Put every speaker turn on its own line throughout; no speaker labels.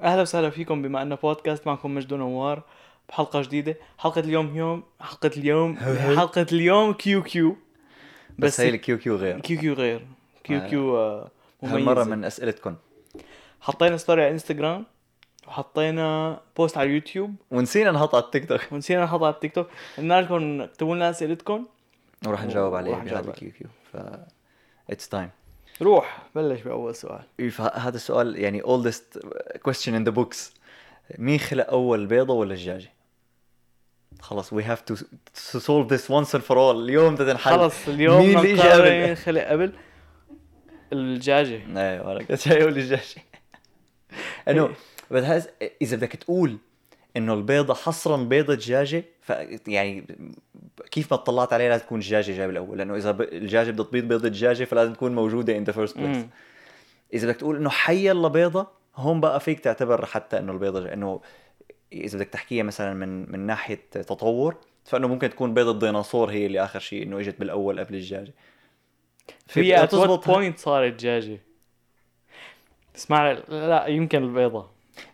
اهلا وسهلا فيكم بما انه بودكاست معكم مجد نوار بحلقه جديده حلقه اليوم يوم حلقه اليوم حلقه اليوم كيو كيو
بس, بس هي الكيو كيو غير
كيو كيو غير كيو
آه.
كيو آه،
هالمره
مميزة.
من اسئلتكم
حطينا ستوري على انستغرام وحطينا بوست على اليوتيوب
ونسينا نحط على التيك توك
ونسينا نحطها على التيك توك بناركم اكتبوا لنا اسئلتكم
وراح نجاوب عليه
وراح نجاوب
بهذا الكيو كيو ف اتس تايم
روح بلش باول سؤال
هذا السؤال يعني اولدست كويستشن ان ذا بوكس مين خلق اول البيضه ولا الدجاجه؟ خلص وي هاف تو سولف ذس وانس اند فور اول اليوم بدها تنحل
خلص اليوم
مين
مين
اللي
اللي
إجا قبل؟
خلق قبل الدجاجه
ايوه ولا كنت جاي اقول الدجاجه انه بتحس اذا بدك تقول انه البيضه حصرا بيضه دجاجه ف يعني كيف ما اطلعت عليها لازم تكون دجاجه جايب الاول لانه اذا ب- الدجاجه بدها تبيض بيضه دجاجه فلازم تكون موجوده ان ذا فيرست بليس
مم.
اذا بدك تقول انه حي الله بيضه هون بقى فيك تعتبر حتى انه البيضه ج- انه اذا بدك تحكيها مثلا من من ناحيه تطور فانه ممكن تكون بيضه الديناصور هي اللي اخر شيء انه اجت بالاول قبل الدجاجه
في ات وات
بتزبط ه-
بوينت صارت دجاجه اسمع لا يمكن البيضه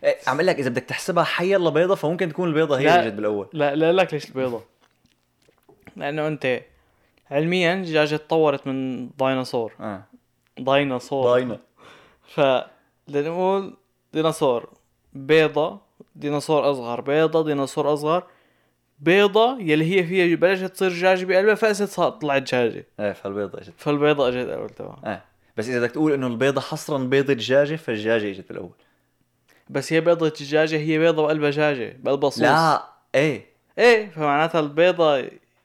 إيه، عم اقول لك اذا بدك تحسبها حي الله بيضه فممكن تكون البيضه هي
لا.
اللي جت بالاول
لا لا لك ليش البيضه لانه انت علميا الدجاجه تطورت من ديناصور
اه
ديناصور
ضاينه
ف لنقول ديناصور بيضة ديناصور أصغر بيضة ديناصور أصغر بيضة يلي هي فيها بلشت تصير دجاجة بقلبها فأسد صار طلعت دجاجة
ايه فالبيضه اجت
فالبيضة أجت أول تمام
اه بس اذا بدك تقول انه البيضه حصرا بيضه دجاجه فالدجاجه اجت بالاول
بس هي بيضة الدجاجة هي بيضة بقلبها دجاجة بقلبها صوص
لا ايه
إيه فمعناتها البيضة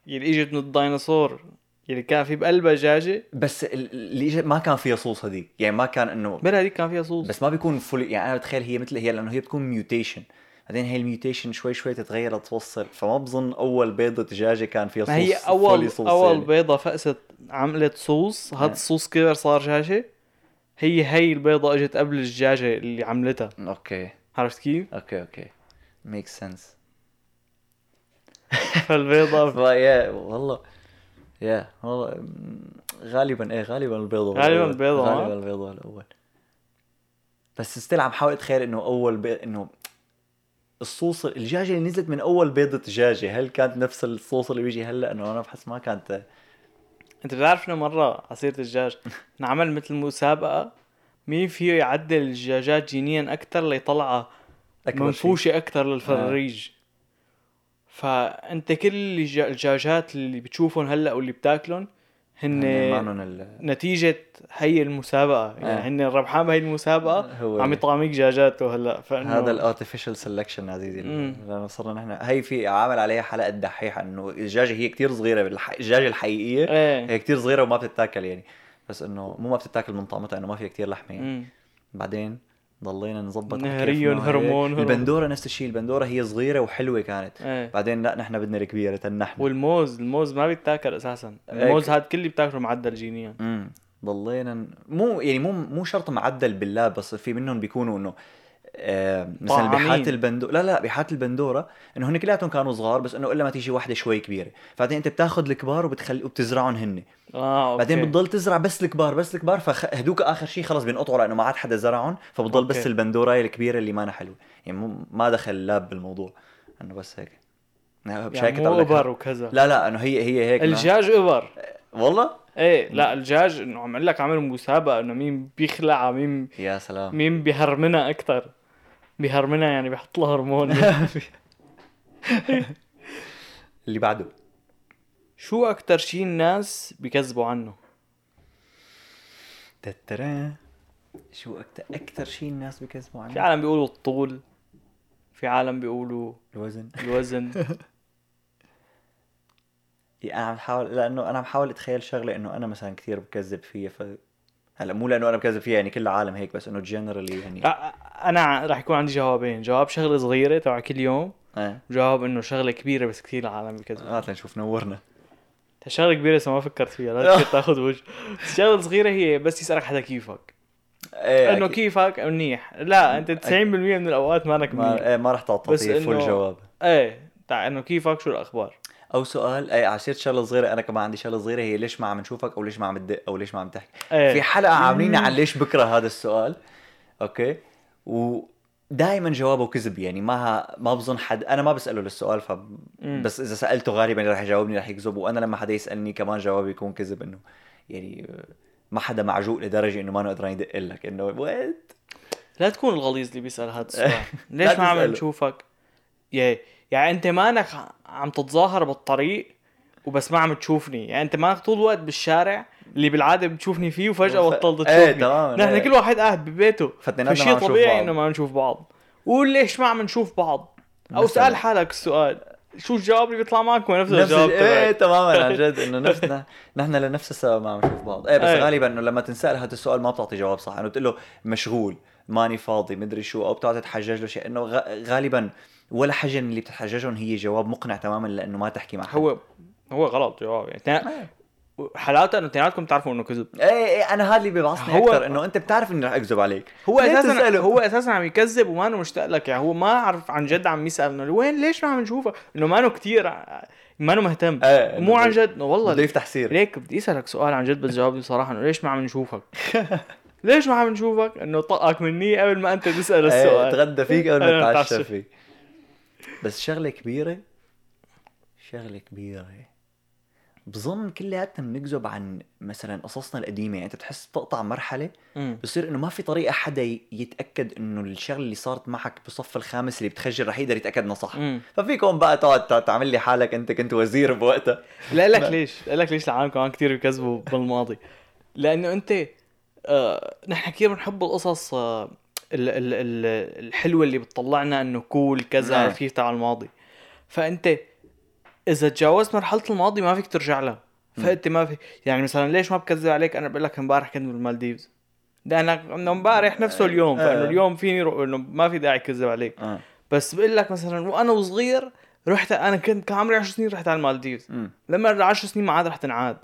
يلي إجت من الديناصور يلي كان في بقلبها دجاجة
بس ال- اللي اجت ما كان فيها صوص هذيك يعني ما كان انه
بلا هذيك كان فيها صوص
بس ما بيكون فل يعني انا بتخيل هي مثل هي لانه هي بتكون ميوتيشن بعدين هي الميوتيشن شوي شوي تتغير لتوصل فما بظن اول بيضه دجاجه كان فيها صوص
ما هي
fully
اول
صوص
اول
يعني.
بيضه فقست عملت صوص هاد
آه.
الصوص كبر صار دجاجه هي هي البيضه اجت قبل الدجاجه اللي عملتها
اوكي
عرفت كيف
اوكي اوكي ميك سنس
فالبيضه
يا uh, والله يا والله م- غالبا ايه غالبا البيضة هو
غالباً
الأول.
البيضة، آه. ها؟
غالبا البيضة هو الاول بس ستيل عم حاول اتخيل انه اول بي... انه الصوص الدجاجة اللي نزلت من اول بيضة دجاجة هل كانت نفس الصوص اللي بيجي هلا انه انا بحس ما كانت
انت بتعرف انه مره عصير الدجاج انعمل مثل مسابقه مين فيه يعدل الدجاجات جينيا اكثر ليطلعها
أكبر شيء. آه.
منفوشه اكثر للفريج فانت كل الج- الدجاجات اللي بتشوفهم هلا واللي بتاكلهم
هن
هن
معنن ال...
نتيجة هي المسابقة يعني
آه.
هن الربحان بهي المسابقة
هو
عم يطعميك دجاجاته هلا فانه
هذا الارتفيشال سلكشن عزيزي
مم.
لانه صرنا نحن هي في عامل عليها حلقه دحيح انه الدجاجه هي كتير صغيره بالح- الدجاجه الحقيقيه
ايه
هي كتير صغيرة وما بتتاكل يعني بس انه مو ما بتتاكل من طعمتها انه ما فيها كتير لحمة يعني
مم.
بعدين ضلينا نظبط على
نهريون،
كيفنا وهيك.
هرمون، هرمون.
البندورة نفس الشيء البندورة هي صغيرة وحلوة كانت
ايه
بعدين لا نحن بدنا الكبيرة تنحن
والموز الموز ما بيتاكل اساسا
إيه.
الموز هاد كل اللي بتاكله معدل جينيا
امم ضلينا ن- مو يعني مو مو شرط معدل باللاب بس في منهم بيكونوا انه آه مثلا
طعامين.
بحالة البندورة لا لا بحالة البندورة انه هن كلياتهم كانوا صغار بس انه الا ما تيجي واحدة شوي كبيرة بعدين انت بتاخذ الكبار وبتخلي وبتزرعهم هن
اه اوكي
بعدين بتضل تزرع بس الكبار بس الكبار فهدوك اخر شيء خلص بينقطعوا لانه ما عاد حدا زرعهم فبتضل
أوكي.
بس البندوره الكبيره اللي ما حلوه يعني مو ما دخل اللاب بالموضوع انه بس هيك أنا
يعني
بشيكت
مو
على لك.
ابر وكذا
لا لا انه هي هي هيك ما-
الجاج ابر
والله
ايه لا الجاج انه عم لك عملوا مسابقة انه مين بيخلعها مين
يا سلام
مين بيهرمنها اكثر بيهرمنها يعني بيحط لها هرمون
اللي بعده
شو اكثر شيء الناس بيكذبوا عنه
تترا شو اكثر اكثر شيء الناس بيكذبوا
في
عنه
عالم بيقولوا الطول في عالم بيقولوا
الوزن
الوزن
يعني انا عم بحاول لانه انا عم بحاول اتخيل شغله انه انا مثلا كثير بكذب فيها ف هلا مو لانه انا بكذب فيها يعني كل العالم هيك بس انه جنرالي يعني
لا، انا رح يكون عندي جوابين جواب شغله صغيره تبع كل يوم
آه.
وجواب انه شغله كبيره بس كثير العالم بكذب
اه نشوف نورنا
شغله كبيره لسه ما فكرت فيها لا تفكر تاخذ وجه بس شغله صغيره هي بس يسالك حدا كيفك
ايه
انه
أكيد.
كيفك منيح لا انت 90% من الاوقات مانك منيح
ما ايه ما رح تعطيه
بس
فول
إنه-
جواب
ايه تاع انه كيفك شو الاخبار
او سؤال ايه على سيره شغله صغيره انا كمان عندي شغله صغيره هي ليش ما عم نشوفك او ليش ما عم تدق او ليش ما عم تحكي
ايه
في حلقه عاملين عن ليش بكره هذا السؤال اوكي و دائما جوابه كذب يعني ما ما بظن حد انا ما بساله للسؤال ف
مم.
بس اذا سالته غالبا رح يجاوبني رح يكذب وانا لما حدا يسالني كمان جوابي يكون كذب انه يعني ما حدا معجوق لدرجه انه ما انا قدران يدق لك انه وات
لا تكون الغليظ اللي بيسال هذا السؤال
إيه. لا
ليش ما عم
تسأله.
نشوفك يا يعني انت مانك عم تتظاهر بالطريق وبس ما عم تشوفني يعني انت مانك طول الوقت بالشارع اللي بالعاده بتشوفني فيه وفجاه
وف-
بطلت تشوفني
ايه تمام
نحن
إيه.
كل واحد قاعد ببيته
فاتنيناتنا
فشي
ما عم نشوف
طبيعي
بعض.
انه ما عم نشوف بعض قول ليش ما عم نشوف بعض او
مثلاً.
سال حالك السؤال شو الجواب اللي بيطلع معك هو نفس
نفس
الجواب
ال- ايه
تبعك
تماما عن جد انه نفسنا نحن لنفس السبب ما عم نشوف بعض ايه بس
إيه.
غالبا انه لما تنسال هذا السؤال ما بتعطي جواب صح انه بتقول له مشغول ماني فاضي مدري شو او بتقعد تتحجج له شيء انه غ- غالبا ولا حاجه من اللي بتتحججهم هي جواب مقنع تماما لانه ما تحكي مع حد إيه،
هو هو غلط جواب يعني تنا- حالاته انه اثنيناتكم بتعرفوا انه كذب
ايه ايه انا هذا اللي بيبعصني
هو-
اكثر انه انت بتعرف اني رح اكذب عليك
هو
ليه
اساسا
بتسأله؟
هو اساسا عم يكذب وما انه مشتاق لك يعني هو ما عرف عن جد عم يسال انه وين ليش ما عم نشوفه انه ما انه كثير ما انه مهتم
إيه،
مو عن
بده-
جد إنه والله
بده يفتح سيره
ليك بدي اسالك سؤال عن جد بس جاوبني صراحه انه ليش ما عم نشوفك ليش ما عم نشوفك انه طقك مني قبل ما انت تسال
ايه
السؤال
اتغدى فيك قبل
أنا
ما
بتعشى.
اتعشى فيك بس شغله كبيره شغله كبيره بظن كلياتنا بنكذب عن مثلا قصصنا القديمه يعني انت بتحس بتقطع مرحله
مم.
بصير انه ما في طريقه حدا ي- يتاكد انه الشغله اللي صارت معك بصف الخامس اللي بتخجل رح يقدر يتاكد انه صح
مم.
ففيكم بقى تقعد تع- تعمل لي حالك انت كنت وزير بوقتها
لا لك
لا.
ليش لا لك ليش العالم كمان كثير بيكذبوا بالماضي لانه انت آه نحن كثير بنحب القصص آه ال ال ال الحلوه اللي بتطلعنا انه كول كذا
نعم.
عرفت كيف تاع الماضي فانت اذا تجاوزت مرحله الماضي ما فيك ترجع لها فانت ما في يعني مثلا ليش ما بكذب عليك انا بقول لك امبارح كنت بالمالديفز لانك انه امبارح نفسه اليوم فانه
آه.
اليوم فيني رو... انه ما في داعي كذب عليك
آه.
بس بقول لك مثلا وانا وصغير رحت انا كنت كان عمري 10 سنين رحت على المالديفز
مم.
لما ارجع 10 سنين ما عاد رح تنعاد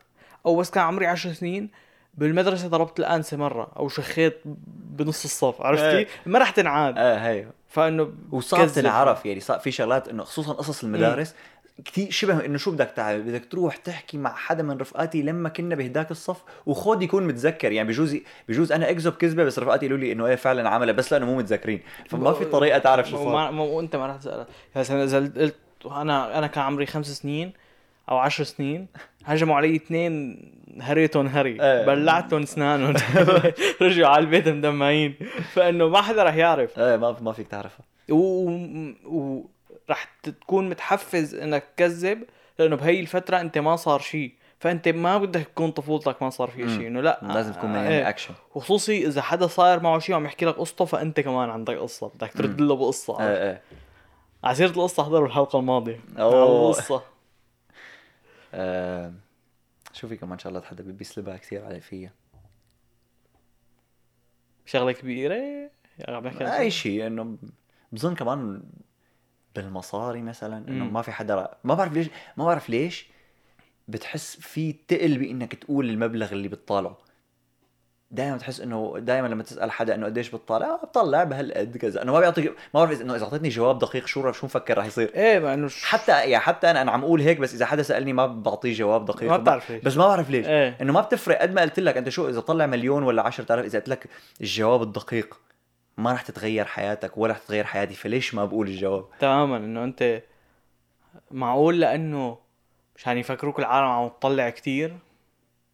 او بس كان عمري 10 سنين بالمدرسه ضربت الانسه مره او شخيت بنص الصف عرفتي
إيه.
ما رح تنعاد
اه هي
فانه
وصار
كذب.
تنعرف يعني صار في شغلات انه خصوصا قصص المدارس كثير شبه انه شو بدك تعمل بدك تروح تحكي مع حدا من رفقاتي لما كنا بهداك الصف وخود يكون متذكر يعني بجوز بجوز انا اكذب كذبه بس رفقاتي يقولوا لي انه ايه فعلا عملها بس لانه مو متذكرين فما في طريقه تعرف شو صار
وما- ما وانت ما رح تسال مثلا اذا قلت انا انا كان عمري خمس سنين او عشر سنين هجموا علي اثنين هريتهم هري
إيه.
بلعتهم اسنانهم رجعوا على البيت مدمعين فانه ما حدا رح يعرف
ايه ما ما فيك تعرفها
وراح تكون متحفز انك تكذب لانه بهي الفتره انت ما صار شيء فانت ما بدك تكون طفولتك ما صار فيها شيء انه لا
لازم تكون يعني
آه،
مليان
إيه.
اكشن
وخصوصي اذا حدا صاير معه شيء وعم يحكي لك قصته فانت كمان عندك قصه بدك ترد له بقصه
ايه ايه
على سيره القصه احضروا الحلقه الماضيه
أوه.
القصه
آه، شو في كمان شغلات حدا بي- بيسلبها كثير علي فيها
شغله كبيره يا عم نحكي عن
اي
شغلة.
شيء انه بظن كمان بالمصاري مثلا انه
مم.
ما في حدا رأ... ما بعرف ليش ما بعرف ليش بتحس في تقل بانك تقول المبلغ اللي بتطالعه دائما بتحس انه دائما لما تسال حدا انه قديش بتطالع آه، بطلع بهالقد كذا انه ما بيعطيك ما بعرف إذا- انه اذا اعطيتني جواب دقيق شو رح- شو مفكر رح يصير
ايه مع انه ش-
حتى يعني حتى انا انا عم اقول هيك بس اذا حدا سالني ما بعطيه جواب دقيق
ما بتعرف ليش.
بس ما بعرف ليش
إيه.
انه ما بتفرق قد ما قلت لك انت شو اذا طلع مليون ولا 10000 اذا قلت لك الجواب الدقيق ما رح تتغير حياتك ولا رح تتغير حياتي فليش ما بقول الجواب
تماما انه انت معقول لانه مشان يفكروك العالم عم تطلع كتير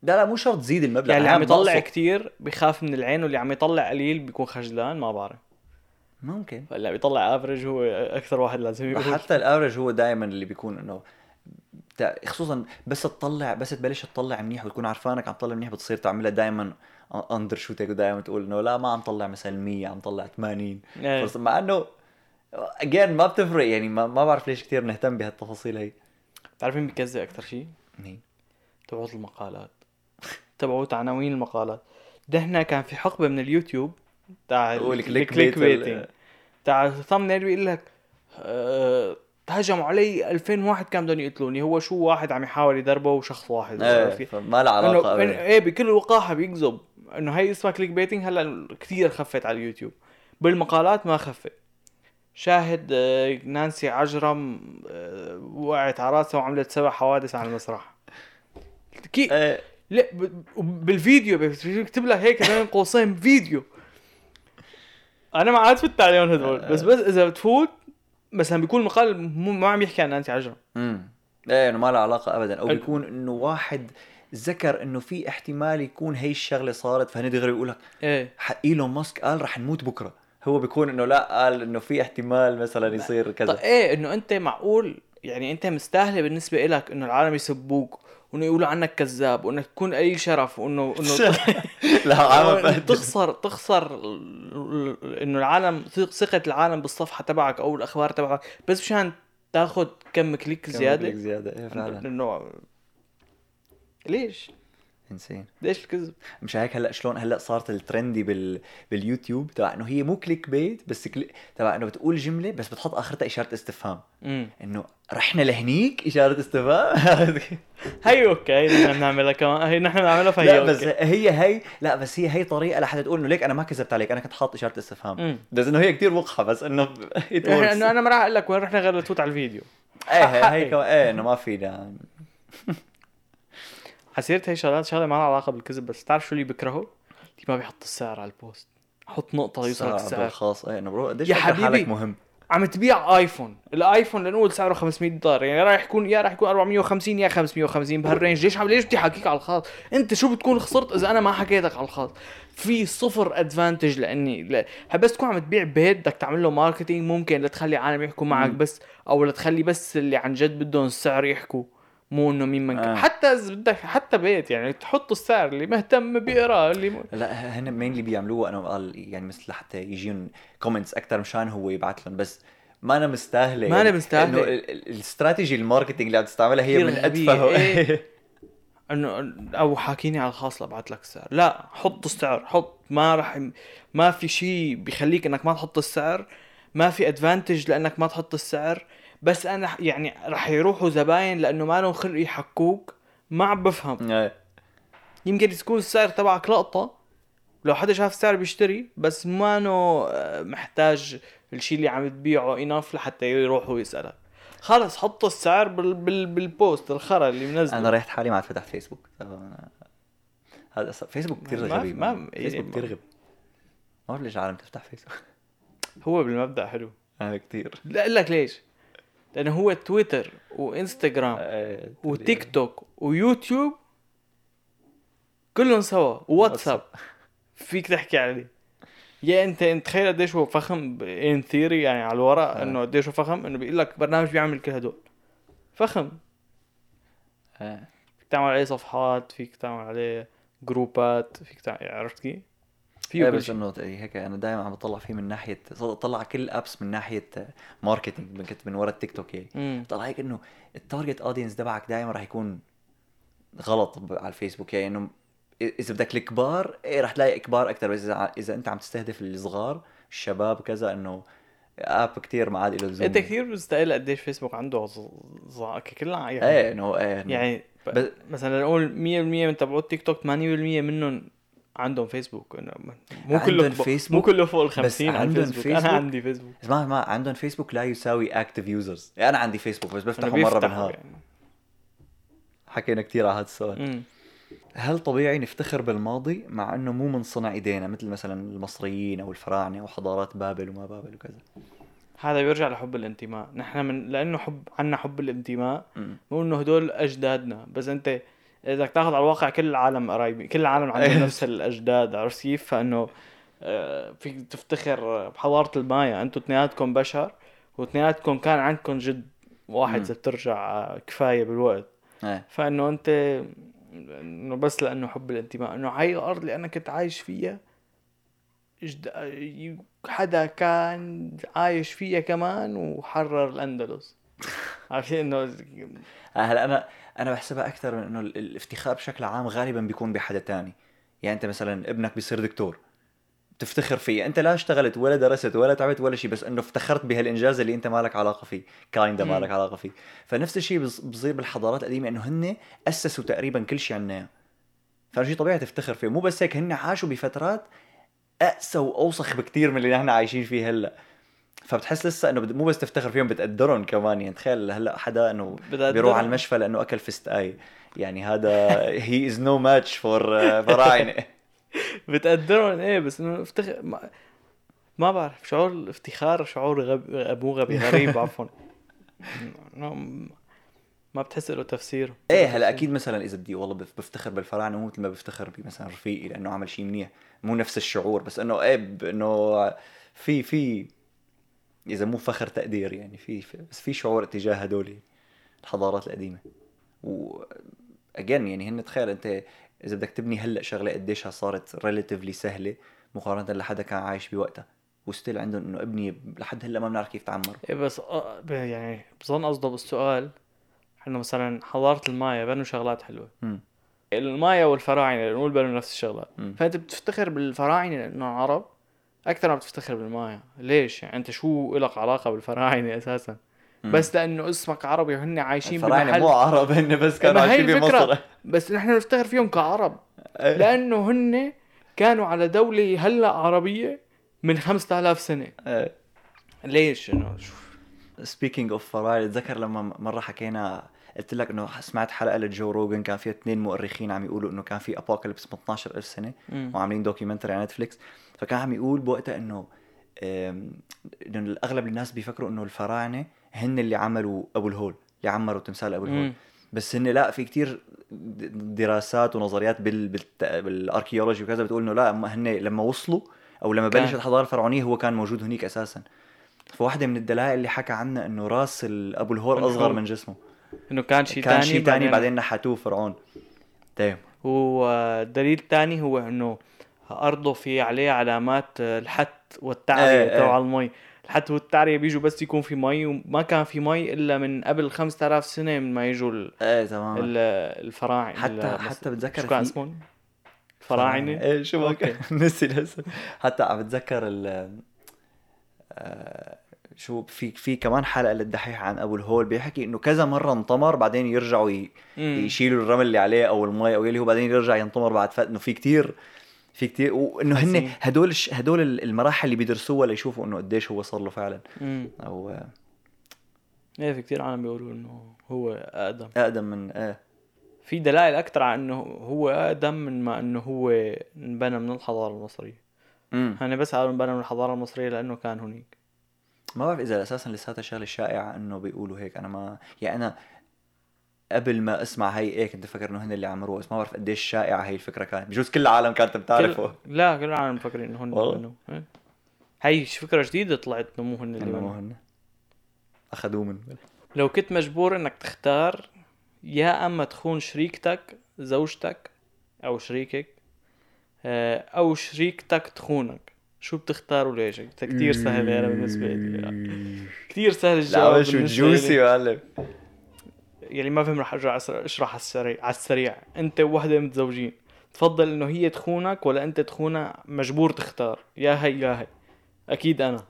لا لا مو شرط تزيد المبلغ
يعني اللي
أنا
عم يطلع
بقصد.
كتير بخاف من العين واللي عم يطلع قليل بيكون خجلان ما بعرف
ممكن
فاللي عم يطلع افرج هو اكثر واحد لازم يقول
حتى الافرج هو دائما اللي بيكون انه بتاع- خصوصا بس تطلع بس تبلش تطلع منيح وتكون عرفانك عم تطلع منيح بتصير تعملها دائما اندر شوتك ودائما تقول انه لا ما عم طلع مثلا 100 عم طلع 80
إيه.
فرصة مع انه اجين ما بتفرق يعني ما, ما بعرف ليش كثير نهتم بهالتفاصيل هي
بتعرف مين بيكذب اكثر شيء؟
مين؟
تبعوت المقالات تبعوت عناوين المقالات دهنا كان في حقبه من اليوتيوب تاع ال-
والكليك
الكليك
بيت وال-
بيتنج تاع الثامنيل بيقول لك آه، هجموا علي 2000 واحد كان بدهم يقتلوني هو شو واحد عم يحاول يدربه وشخص واحد عرفت
ايه
كيف؟
فما لها
انه
علاقه
إنه-
أبداً.
ايه بكل وقاحه بيكذب انه هي اسمها كليك بيتنج هلا كثير خفت على اليوتيوب بالمقالات ما خفت شاهد آه، نانسي عجرم آه، وقعت على راسها وعملت سبع حوادث على المسرح كي
إيه،
لا ب- ب- بالفيديو بيكتب لها هيك بين قوسين فيديو انا ما عاد فت عليهم هذول بس بس اذا بتفوت مثلا بيكون المقال مو ما عم يحكي عن نانسي عجرم
امم ايه انه ما لها علاقه ابدا او
حلو.
بيكون انه واحد ذكر انه في احتمال يكون هي الشغله صارت فهن دغري يقول لك
ايه
ح- ايلون ماسك قال رح نموت بكره هو بيكون انه لا قال انه في احتمال مثلا يصير
طيب
كذا
ايه انه انت معقول يعني انت مستاهله بالنسبه إلك انه العالم يسبوك وانه يقولوا عنك كذاب وانك تكون قليل شرف وانه انه
لا
إنه
عم بهدل.
تخسر تخسر ال- ال- انه العالم ثق- ثقه العالم بالصفحه تبعك او الاخبار تبعك بس مشان تاخذ كم كليك
كم بدك
زياده
زياده ايه فعلا
انه ليش؟
انسين
ليش الكذب؟
مش هيك هلا شلون هلا صارت الترندي بال باليوتيوب تبع انه هي مو كليك بيت بس كلي... تبع انه بتقول جمله بس بتحط اخرتها اشاره استفهام
امم
انه رحنا لهنيك اشاره استفهام
هي اوكي هي نحن بنعملها كمان هي نحن بنعملها فهي
لا
طيب، أوكي.
بس هي هي لا بس هي هي طريقه لحتى تقول انه ليك انا ما كذبت عليك انا كنت حاط اشاره استفهام
امم
بس انه هي كثير وقحه بس انه it works.
نحن- انه انا ما راح اقول لك وين رحنا غير لتفوت على الفيديو
ايه هي-
حقي.
هي كمان- ايه انه ما في لا-
حسيت هي شغلات شغله ما لها علاقه بالكذب بس تعرف شو اللي بكرهه؟ اللي ما بيحط السعر على البوست حط نقطه ليوصلك
سعر
السعر
بالخاص ايه انه برو قديش
يا
فكر حالك
حبيبي.
مهم
عم تبيع ايفون الايفون لنقول سعره 500 دولار يعني راح يكون يا راح يكون 450 يا 550 بهالرينج ليش عم ليش بدي حكيك على الخاص انت شو بتكون خسرت اذا انا ما حكيتك على الخاص في صفر ادفانتج لاني لا. بس تكون عم تبيع بيت بدك تعمل له ماركتينج ممكن لتخلي عالم يحكوا معك
مم.
بس او لتخلي بس اللي عن جد بدهم السعر يحكوا مو انه مين من
آه.
آه. حتى اذا بدك حتى بيت يعني تحط السعر اللي مهتم بيقرا اللي م...
لا هن مينلي بيعملوه انا قال يعني مثل لحتى يجيهم كومنتس اكثر مشان هو يبعث لهم بس ما انا مستاهله
ما أنا
يعني.
مستاهلة.
انه ال- ال- الاستراتيجي الماركتينج اللي عم تستعملها هي
كتير
من
غبية.
اتفه
إيه. انه او حاكيني على الخاص لابعت لك السعر لا حط السعر حط ما راح ما في شيء بخليك انك ما تحط السعر ما في ادفانتج لانك ما تحط السعر بس انا ح- يعني راح يروحوا زباين لانه ما لهم خلق يحكوك ما عم بفهم
إيه.
يمكن تكون السعر تبعك لقطه لو حدا شاف السعر بيشتري بس ما انه آه، محتاج الشيء اللي عم تبيعه اناف لحتى يروحوا يسالك خلص حط السعر بال بال بالبوست الخرا اللي منزله
انا ريحت حالي ما عاد فتحت فيسبوك طبعاً. هذا أصلاً- فيسبوك كثير
ما-
غبي
ما-
فيسبوك
إيه، ما-
كثير غبي ما بعرف ليش العالم تفتح فيسبوك
هو بالمبدا حلو
انا كثير
لا اقول لك ليش لانه هو تويتر وانستغرام
آه،
وتيك توك ويوتيوب كلهم سوا وواتساب فيك تحكي عليه يا انت انت تخيل قديش هو فخم ان ثيري يعني على الورق
آه.
انه قديش هو فخم انه بيقول لك برنامج بيعمل كل هدول فخم
إيه.
فيك تعمل عليه صفحات فيك تعمل عليه جروبات فيك تعمل عرفت كيف؟ فيه
ايه
كل
بس
شيء
انه هيك انا دائما عم بطلع فيه من ناحيه طلع كل الابس من ناحيه ماركتينج من كنت من ورا التيك توك يعني
مم.
طلع هيك انه التارجت اودينس تبعك دائما راح يكون غلط ب- على الفيسبوك يعني انه إ- اذا بدك الكبار إيه رح تلاقي كبار اكثر بس اذا ع- اذا انت عم تستهدف الصغار الشباب كذا انه اب كثير ما عاد له لزوم
انت كثير مستقل قديش فيسبوك عنده ز- ز- كلها يعني
ايه انه ايه إنه-
يعني
بس-
ب... مثلا نقول 100% من تبعوا التيك توك 80% منهم عندهم فيسبوك إنه مو
عندهم
كله
فيسبوك،
مو كله فوق ال 50
بس
على
عندهم
الفيسبوك انا
فيسبوك.
عندي فيسبوك
اسمع ما عندهم فيسبوك لا يساوي اكتف يوزرز يعني انا عندي فيسبوك بس
إنه
بفتحه مره
بيفتحوا
بالنهار
يعني.
حكينا كثير على هذا السؤال
أمم.
هل طبيعي نفتخر بالماضي مع انه مو من صنع ايدينا مثل مثلا المصريين او الفراعنه او حضارات بابل وما بابل وكذا
هذا بيرجع لحب الانتماء نحن من لانه حب عندنا حب الانتماء
أمم.
مو انه هدول اجدادنا بس انت بدك تاخذ على الواقع كل العالم قرايبين كل العالم عندهم نفس الاجداد عرفت كيف فانه آه، فيك تفتخر بحضاره المايا انتم اثنيناتكم بشر واثنيناتكم كان عندكم جد واحد
مم.
اذا بترجع آه، كفايه بالوقت
ايه
فانه انت انه بس لانه حب الانتماء انه هاي الارض اللي انا كنت عايش فيها اجد- ي- حدا كان عايش فيها كمان وحرر الاندلس عارفين انه
آه، هلا انا انا بحسبها اكثر من انه ال- الافتخار بشكل عام غالبا بيكون بحدا تاني يعني انت مثلا ابنك بيصير دكتور بتفتخر فيه انت لا اشتغلت ولا درست ولا تعبت ولا شيء بس انه افتخرت بهالانجاز اللي انت مالك علاقه فيه كايندا
مم.
مالك علاقه فيه فنفس الشيء بص- بصير بالحضارات القديمه انه هن اسسوا تقريبا كل شيء عنا فشيء طبيعي تفتخر فيه مو بس هيك هن عاشوا بفترات اقسى واوسخ بكتير من اللي نحن عايشين فيه هلا فبتحس لسه انه بد- مو بس تفتخر فيهم بتقدرهم كمان يعني تخيل هلا حدا انه
بتقدر-
بيروح على المشفى لانه اكل فيست اي يعني هذا هي از نو آه، ماتش فور فراعنه
إيه، بتقدرهم ايه بس انه افتخر ما ما بعرف شعور الافتخار شعور غبي مو غبي غريب عفوا ما- ما بتحس له تفسير
ايه هلا اكيد مثلا اذا بدي والله بف- بفتخر بالفراعنه مو مثل ما بفتخر بمثلا رفيقي لانه عمل شيء منيح مو نفس الشعور بس انه ايه ب- انه في في اذا مو فخر تقدير يعني في في- بس في شعور اتجاه هدول الحضارات القديمه و اجين يعني هن تخيل انت اذا بدك تبني هلا شغله قديشها صارت ريلاتيفلي سهله مقارنه لحدا كان عايش بوقتها وستيل عندهم انه ابني لحد هلا ما بنعرف كيف تعمر
إيه بس آه، ب- يعني بظن قصده بالسؤال انه مثلا حضاره المايا بنوا شغلات حلوه
مم.
المايا والفراعنه نقول بنوا نفس الشغلات
مم.
فانت بتفتخر بالفراعنه لانه عرب اكثر ما بتفتخر بالمايا ليش يعني انت شو لك علاقه بالفراعنه اساسا
مم.
بس لانه اسمك عربي وهن عايشين
الفراعنه
بمحل
مو عرب هن بس كانوا
ما هي
عايشين بمصر
الفكرة. بس نحن نفتخر فيهم كعرب
إيه.
لانه هن كانوا على دوله هلا عربيه من 5000 سنه
إيه.
ليش انه شو
سبيكينج اوف فراعنه اتذكر لما مره حكينا قلت لك انه سمعت حلقه لجو روجن كان فيها اثنين مؤرخين عم يقولوا انه كان في ابوكاليبس من 12000 سنه وعاملين دوكيومنتري على نتفليكس فكان عم يقول بوقتها انه أم، انه اغلب الناس بيفكروا انه الفراعنه هن اللي عملوا ابو الهول اللي عمروا تمثال ابو الهول
مم.
بس هن لا في كتير دراسات ونظريات بال بالت- بالاركيولوجي وكذا بتقول انه لا هم- هن لما وصلوا او لما
كان.
بلشت الحضاره الفرعونيه هو كان موجود هنيك اساسا فواحدة من الدلائل اللي حكى عنها انه راس ال- ابو الهول
أبو
اصغر
الهول.
من جسمه
انه كان شيء
كان
ثاني
شيء ثاني بعدين نحتوه فرعون طيب. تمام
والدليل الثاني هو انه ارضه في عليه علامات الحت والتعريه
إيه، إيه.
تبع المي الحت والتعريه بيجوا بس يكون في مي وما كان في مي الا من قبل 5000 سنه من ما يجوا ال-
ايه تمام
ال- الفراعنه
حتى
إيه، ال-
حتى بتذكر
شو كان
في-
اسمهم؟ فراعنه
ايه شو ما
أوكي.
كان نسي الاسم حتى عم بتذكر ال آه، شو في في كمان حلقه للدحيح عن ابو الهول بيحكي انه كذا مره انطمر بعدين يرجعوا ي-
مم.
يشيلوا الرمل اللي عليه او المي او اللي هو بعدين يرجع ينطمر بعد فتره انه في كتير في كتير وانه هن
حسين.
هدول الش- هدول المراحل اللي بيدرسوها ليشوفوا انه قديش هو صار له فعلا
امم
او آه،
ايه في كثير عالم بيقولوا انه هو اقدم
اقدم من ايه
في دلائل اكثر على انه هو اقدم من ما انه هو انبنى من الحضاره المصريه
مم.
انا بس عارف انبنى من الحضاره المصريه لانه كان هنيك
ما بعرف اذا اساسا لساتها شغله شائعه انه بيقولوا هيك انا ما يعني انا قبل ما اسمع هي ايه كنت فكر انه هن اللي عمروها بس ما بعرف قديش شائعه هي الفكره كانت بجوز كل العالم كانت بتعرفه
كل... لا كل العالم مفكرين انه هن
والله.
اللي بنوا. إيه. هي ش- فكره جديده طلعت انه مو هن اللي
انه مو
بنوا.
هن اخذوه من
لو كنت مجبور انك تختار يا اما تخون شريكتك زوجتك او شريكك آه، او شريكتك تخونك شو بتختار وليش؟ كثير سهل انا بالنسبه لي كثير سهل الجواب
لا شو
بالنسبة لي.
جوسي يا معلم
يلي ما فهم رح ارجع أسر- اشرح على السريع على السريع انت ووحده متزوجين تفضل انه هي تخونك ولا انت تخونها مجبور تختار يا هي يا هي اكيد انا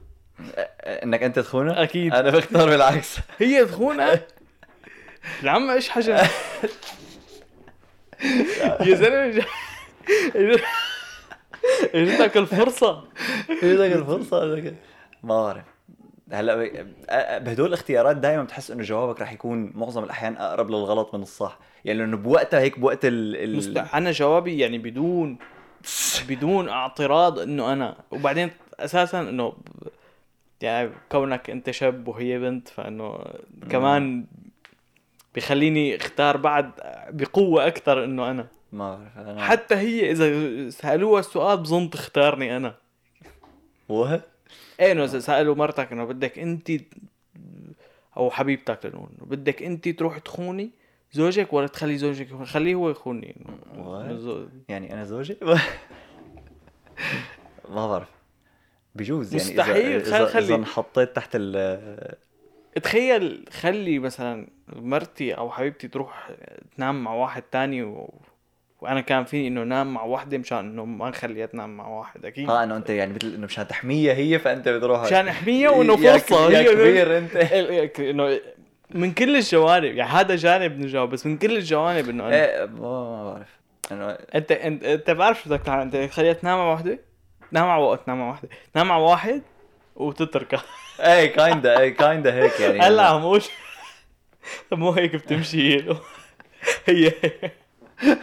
انك انت تخونه؟
اكيد
انا بختار بالعكس
هي تخونها العم ايش حجم يا زلمه جا- إجا- اجتك الفرصه
ايدك الفرصه إيدك- ما بعرف هلا ب- بهدول الاختيارات دائما بتحس انه جوابك رح يكون معظم الاحيان اقرب للغلط من الصح يعني لانه بوقتها هيك بوقت ال, ال...
مست... انا جوابي يعني بدون بدون اعتراض انه انا وبعدين اساسا انه ب- يعني كونك انت شاب وهي بنت فانه كمان بخليني اختار بعد بقوه اكثر انه انا
ما بعرف انا
حتى هي اذا سالوها السؤال بظن تختارني انا
وه-
ايه انه اذا سالوا مرتك انه بدك انت او حبيبتك لنقول إنه بدك انت تروح تخوني زوجك ولا تخلي زوجك يخون- خليه هو يخوني إنه- إنه
What?
زو-
يعني انا زوجي ما بعرف بجوز يعني إذا-
مستحيل، خل-
اذا اذا,
خلي.
إذا انحطيت تحت ال
تخيل خلي مثلا مرتي او حبيبتي تروح تنام مع واحد تاني و... وانا كان فيني انه نام مع وحده مشان انه ما نخليها تنام مع واحد اكيد
اه انه انت يعني مثل انه مشان تحميها هي فانت بتروح
مشان احميها وانه
يا
فرصه
ك- يا
هي إنه-
كبير انت
ال- ال- انه إيه، من كل الجوانب يعني هذا جانب من الجوانب بس من كل الجوانب انه أنا...
ايه ما ما بعرف انه
انت انت انت بعرف شو بدك تعمل انت تخليها تنام مع وحده تنام مع وقت تنام مع وحده تنام مع واحد وتتركها
ايه كايندا ايه كايندا هيك يعني
هلا عم اقول طب مو هيك بتمشي هي- هي
اه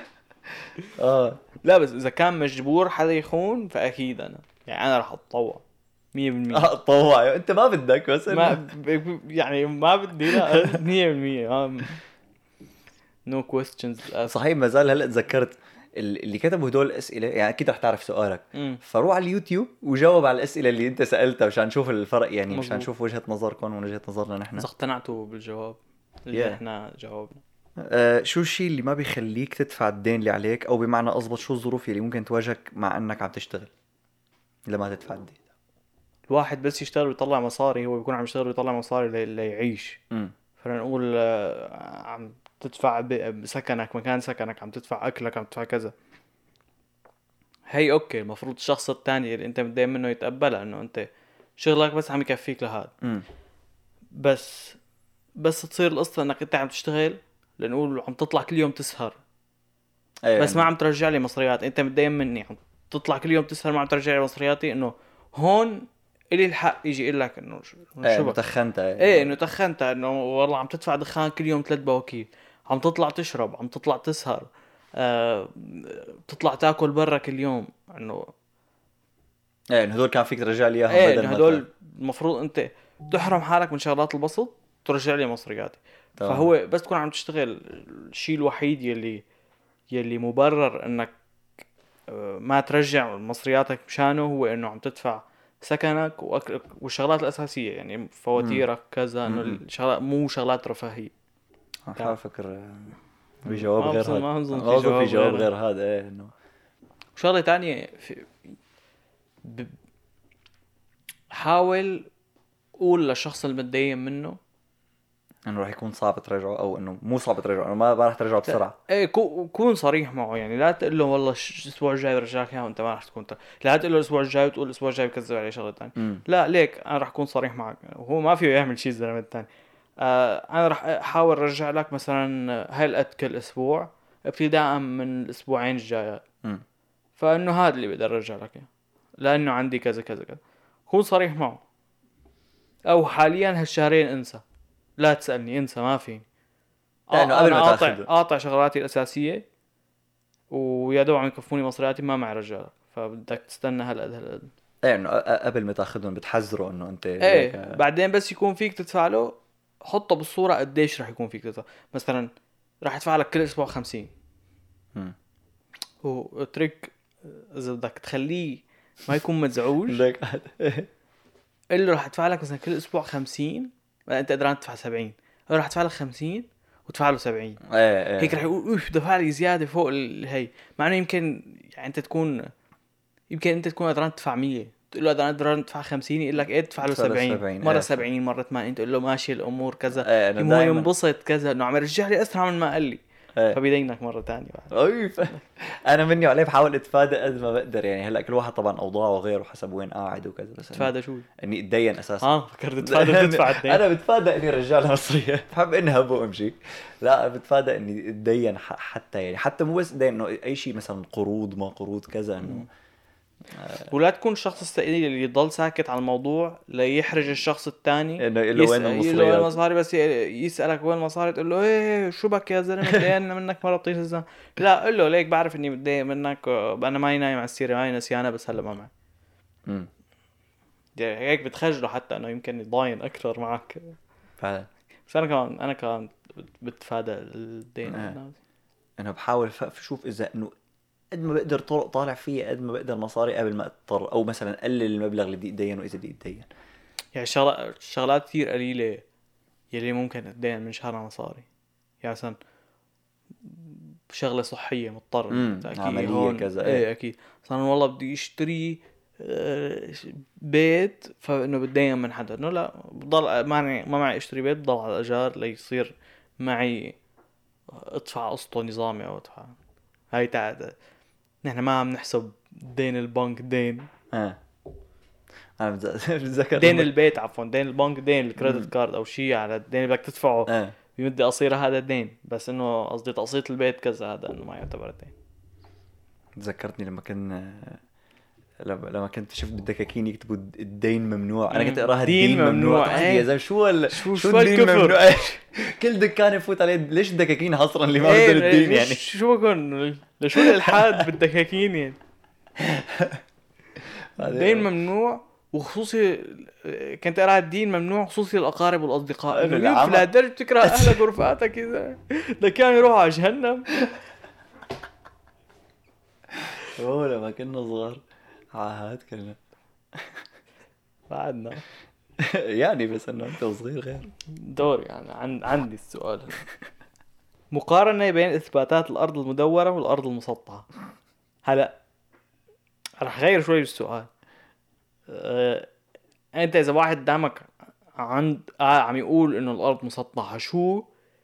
آه.
لا بس اذا كان مجبور حدا يخون فاكيد انا يعني انا رح اتطوع 100%
اه طوع انت ما بدك بس
ما
ما
ب- يعني ما بدي لا آه، 100% نو كويستشنز
صحيح ما زال هلا تذكرت ال- اللي كتبوا هدول الاسئله يعني اكيد رح تعرف سؤالك فروح على اليوتيوب وجاوب على الاسئله اللي انت سالتها مشان نشوف الفرق يعني
مزبوط.
مشان نشوف وجهه نظركم ووجهه نظرنا نحن
اذا اقتنعتوا بالجواب اللي
Yeah.
احنا جاوبنا
آه شو الشيء اللي ما بيخليك تدفع الدين اللي عليك او بمعنى اضبط شو الظروف اللي ممكن تواجهك مع انك عم تشتغل لما تدفع الدين
الواحد بس يشتغل ويطلع مصاري هو بيكون عم يشتغل ويطلع مصاري لي- ليعيش
امم
خلينا نقول آه، عم تدفع ب- بسكنك مكان سكنك عم تدفع اكلك عم تدفع كذا هي اوكي المفروض الشخص الثاني اللي انت متضايق منه يتقبلها انه انت شغلك بس عم يكفيك لهذا
امم
بس بس تصير القصه انك انت عم تشتغل لنقول عم تطلع كل يوم تسهر
إيه،
بس ما عم ترجع لي مصريات انت متضايق مني عم تطلع كل يوم تسهر ما عم ترجع لي مصرياتي انه هون الي الحق يجي يقول لك انه شو- إنه
ايه
شو بك؟
متخنت
ايه انه تخنت انه والله عم تدفع دخان كل يوم ثلاث بواكيل عم تطلع تشرب عم تطلع تسهر آه بتطلع تاكل برا كل يوم انه
ايه إنه هدول كان فيك ترجع لي اياهم
ايه
بدل
انه
ما
هدول المفروض انت تحرم حالك من شغلات البسط ترجع لي مصرياتي
تمام.
فهو بس تكون عم تشتغل الشيء الوحيد يلي يلي مبرر انك آه، ما ترجع مصرياتك مشانه هو انه عم تدفع سكنك واكلك والشغلات الاساسيه يعني فواتيرك كذا انه
مم.
الشغلات مو شغلات رفاهيه
عم بحاول افكر بجواب
طيب. ما
آه، غير
بظن-
هذا
ما بظن في
ما بظن
جواب
في جواب
غير
غير هذا ايه انه
وشغله تانية في ب... حاول قول للشخص اللي متضايق منه
انه راح يكون صعب ترجعه او انه مو صعب ترجعه انه ما ما راح ترجعه بسرعه
ايه كو- كون صريح معه يعني لا تقول له والله ش- الاسبوع الجاي برجعك اياها وانت ما رح تكون ت- لا تقول له الاسبوع الجاي وتقول الاسبوع الجاي بكذب علي شغله ثانيه
امم
لا ليك انا رح اكون صريح معك وهو ما فيه يعمل شيء الزلمه الثاني آه انا رح احاول ارجع لك مثلا هالقد كل اسبوع ابتداء من الاسبوعين الجايات
أمم.
فانه هذا اللي بقدر ارجع لك اياه لانه عندي كذا كذا كذا كون صريح معه او حاليا هالشهرين انسى لا تسالني انسى ما في
لأنه قبل ما
قاطع
تاخده.
قاطع شغلاتي الاساسيه ويا دوب عم يكفوني مصرياتي ما معي رجال فبدك تستنى هالقد هالقد
ايه انه أ- أ- قبل ما تاخذهم بتحذره انه انت هيك،
ايه بعدين بس يكون فيك تدفع له حطه بالصوره قديش رح يكون فيك تدفع مثلا رح ادفع لك كل اسبوع 50
مم.
وتريك اذا بدك تخليه ما يكون مزعوج
ليك هذا. إيه.
قل له رح ادفع لك مثلا كل اسبوع 50 بعدين انت قدران تدفع 70 قل له رح ادفع لك 50 وتدفع له 70
ايه ايه
هيك رح يقول اوف دفع لي زياده فوق الهي مع انه يمكن يعني انت تكون يمكن انت تكون قدران تدفع 100 تقول له انا قدران ادفع 50 يقول لك ايه ادفع له
ادفع له
70
70.
مره
إيه.
70 مره 80 تقول له ماشي الامور كذا
ايه
هو
انه دايما
ينبسط كذا انه عم يرجع لي اسرع من ما قال لي
إيه.
فبيدينك مره ثانيه بعد
أوي، ف... انا مني وعليه بحاول اتفادى قد ما بقدر يعني هلا كل واحد طبعا اوضاعه غير وحسب وين قاعد وكذا بس إنه-
تفادى شو
اني اتدين اساسا
اه فكرت تفادى تدفع اثنين
انا بتفادى اني رجال مصريه بحب انهب وامشي لا بتفادى اني اتدين ح- حتى يعني حتى مو بس اتدين انه اي شيء مثلا قروض ما قروض كذا انه
ولا تكون الشخص الثقيل اللي يضل ساكت عن الموضوع ليحرج الشخص الثاني
انه يقول له وين
يقول له وين
المصريات
المصاري بس ي- يسالك وين المصاري تقول له ايه شو بك يا زلمه متضايقنا منك مره بطيخ الزلمه لا قول له ليك بعرف اني متضايق منك آه، انا ماني نايم على السيره ماني نسيانه بس هلا ما معي
أمم،
يعني هيك بتخجله حتى انه يمكن يضاين اكثر معك
فعلا
بس انا كمان انا كمان بت- بتفادى الدين
آه. انه بحاول ف- اشوف اذا انه قد ما بقدر طرق طالع فيها قد ما بقدر مصاري قبل ما اضطر او مثلا قلل المبلغ اللي بدي اتدينه اذا بدي اتدين
يعني شغلات شغلات كثير قليلة يلي ممكن تدين من شهرها مصاري يعني مثلا شغلة صحية مضطر
مم،
أنت
عملية
هون-
كذا،
ايه
إيه.
اكيد مثلا والله بدي اشتري آه، ش- بيت فانه بتدين من حدا انه لا بضل ماني ما معي اشتري بيت بضل على الايجار ليصير معي ادفع قسطه نظامي او ادفع هاي تعال نحن ما عم نحسب دين البنك دين
اه انا بتز- بتذكر
دين
لما-
البيت عفوا دين البنك دين الكريدت كارد او شيء على الدين اللي بدك تدفعه
اه
بمدة قصيرة هذا دين بس انه قصدي تقسيط البيت كذا هذا انه ما يعتبر دين
تذكرتني لما كان لما لما كنت شفت بالدكاكين يكتبوا الدين ممنوع انا
مم.
كنت اقراها
دين
الدين ممنوع,
ممنوع،
ممنوع.
إيه.
يا زلمه شو ال...
شو-
شو,
شو
شو الدين
الكفر؟
ممنوع كل دكان يفوت عليه ليش الدكاكين حصرا اللي إيه، ما
إيه،
بدهم الدين
ليش-
يعني
شو بكون لشو الالحاد بالدكاكين يعني
هذا-
دين ممنوع وخصوصي كنت قارئ الدين ممنوع خصوصي الاقارب والاصدقاء
إنه
انه ليه
العمى.
في لهالدرجه بتكره اهلك ورفقاتك اذا ده كان يروح على جهنم
اوه لما كنا صغار عاهات كنا
بعدنا
يعني بس انه انت صغير غير
دوري يعني عن... عندي السؤال هنا. مقارنة بين إثباتات الأرض المدورة والأرض المسطحة هلا رح غير شوي بالسؤال أه... أنت إذا واحد قدامك عند آه عم يقول إنه الأرض مسطحة شو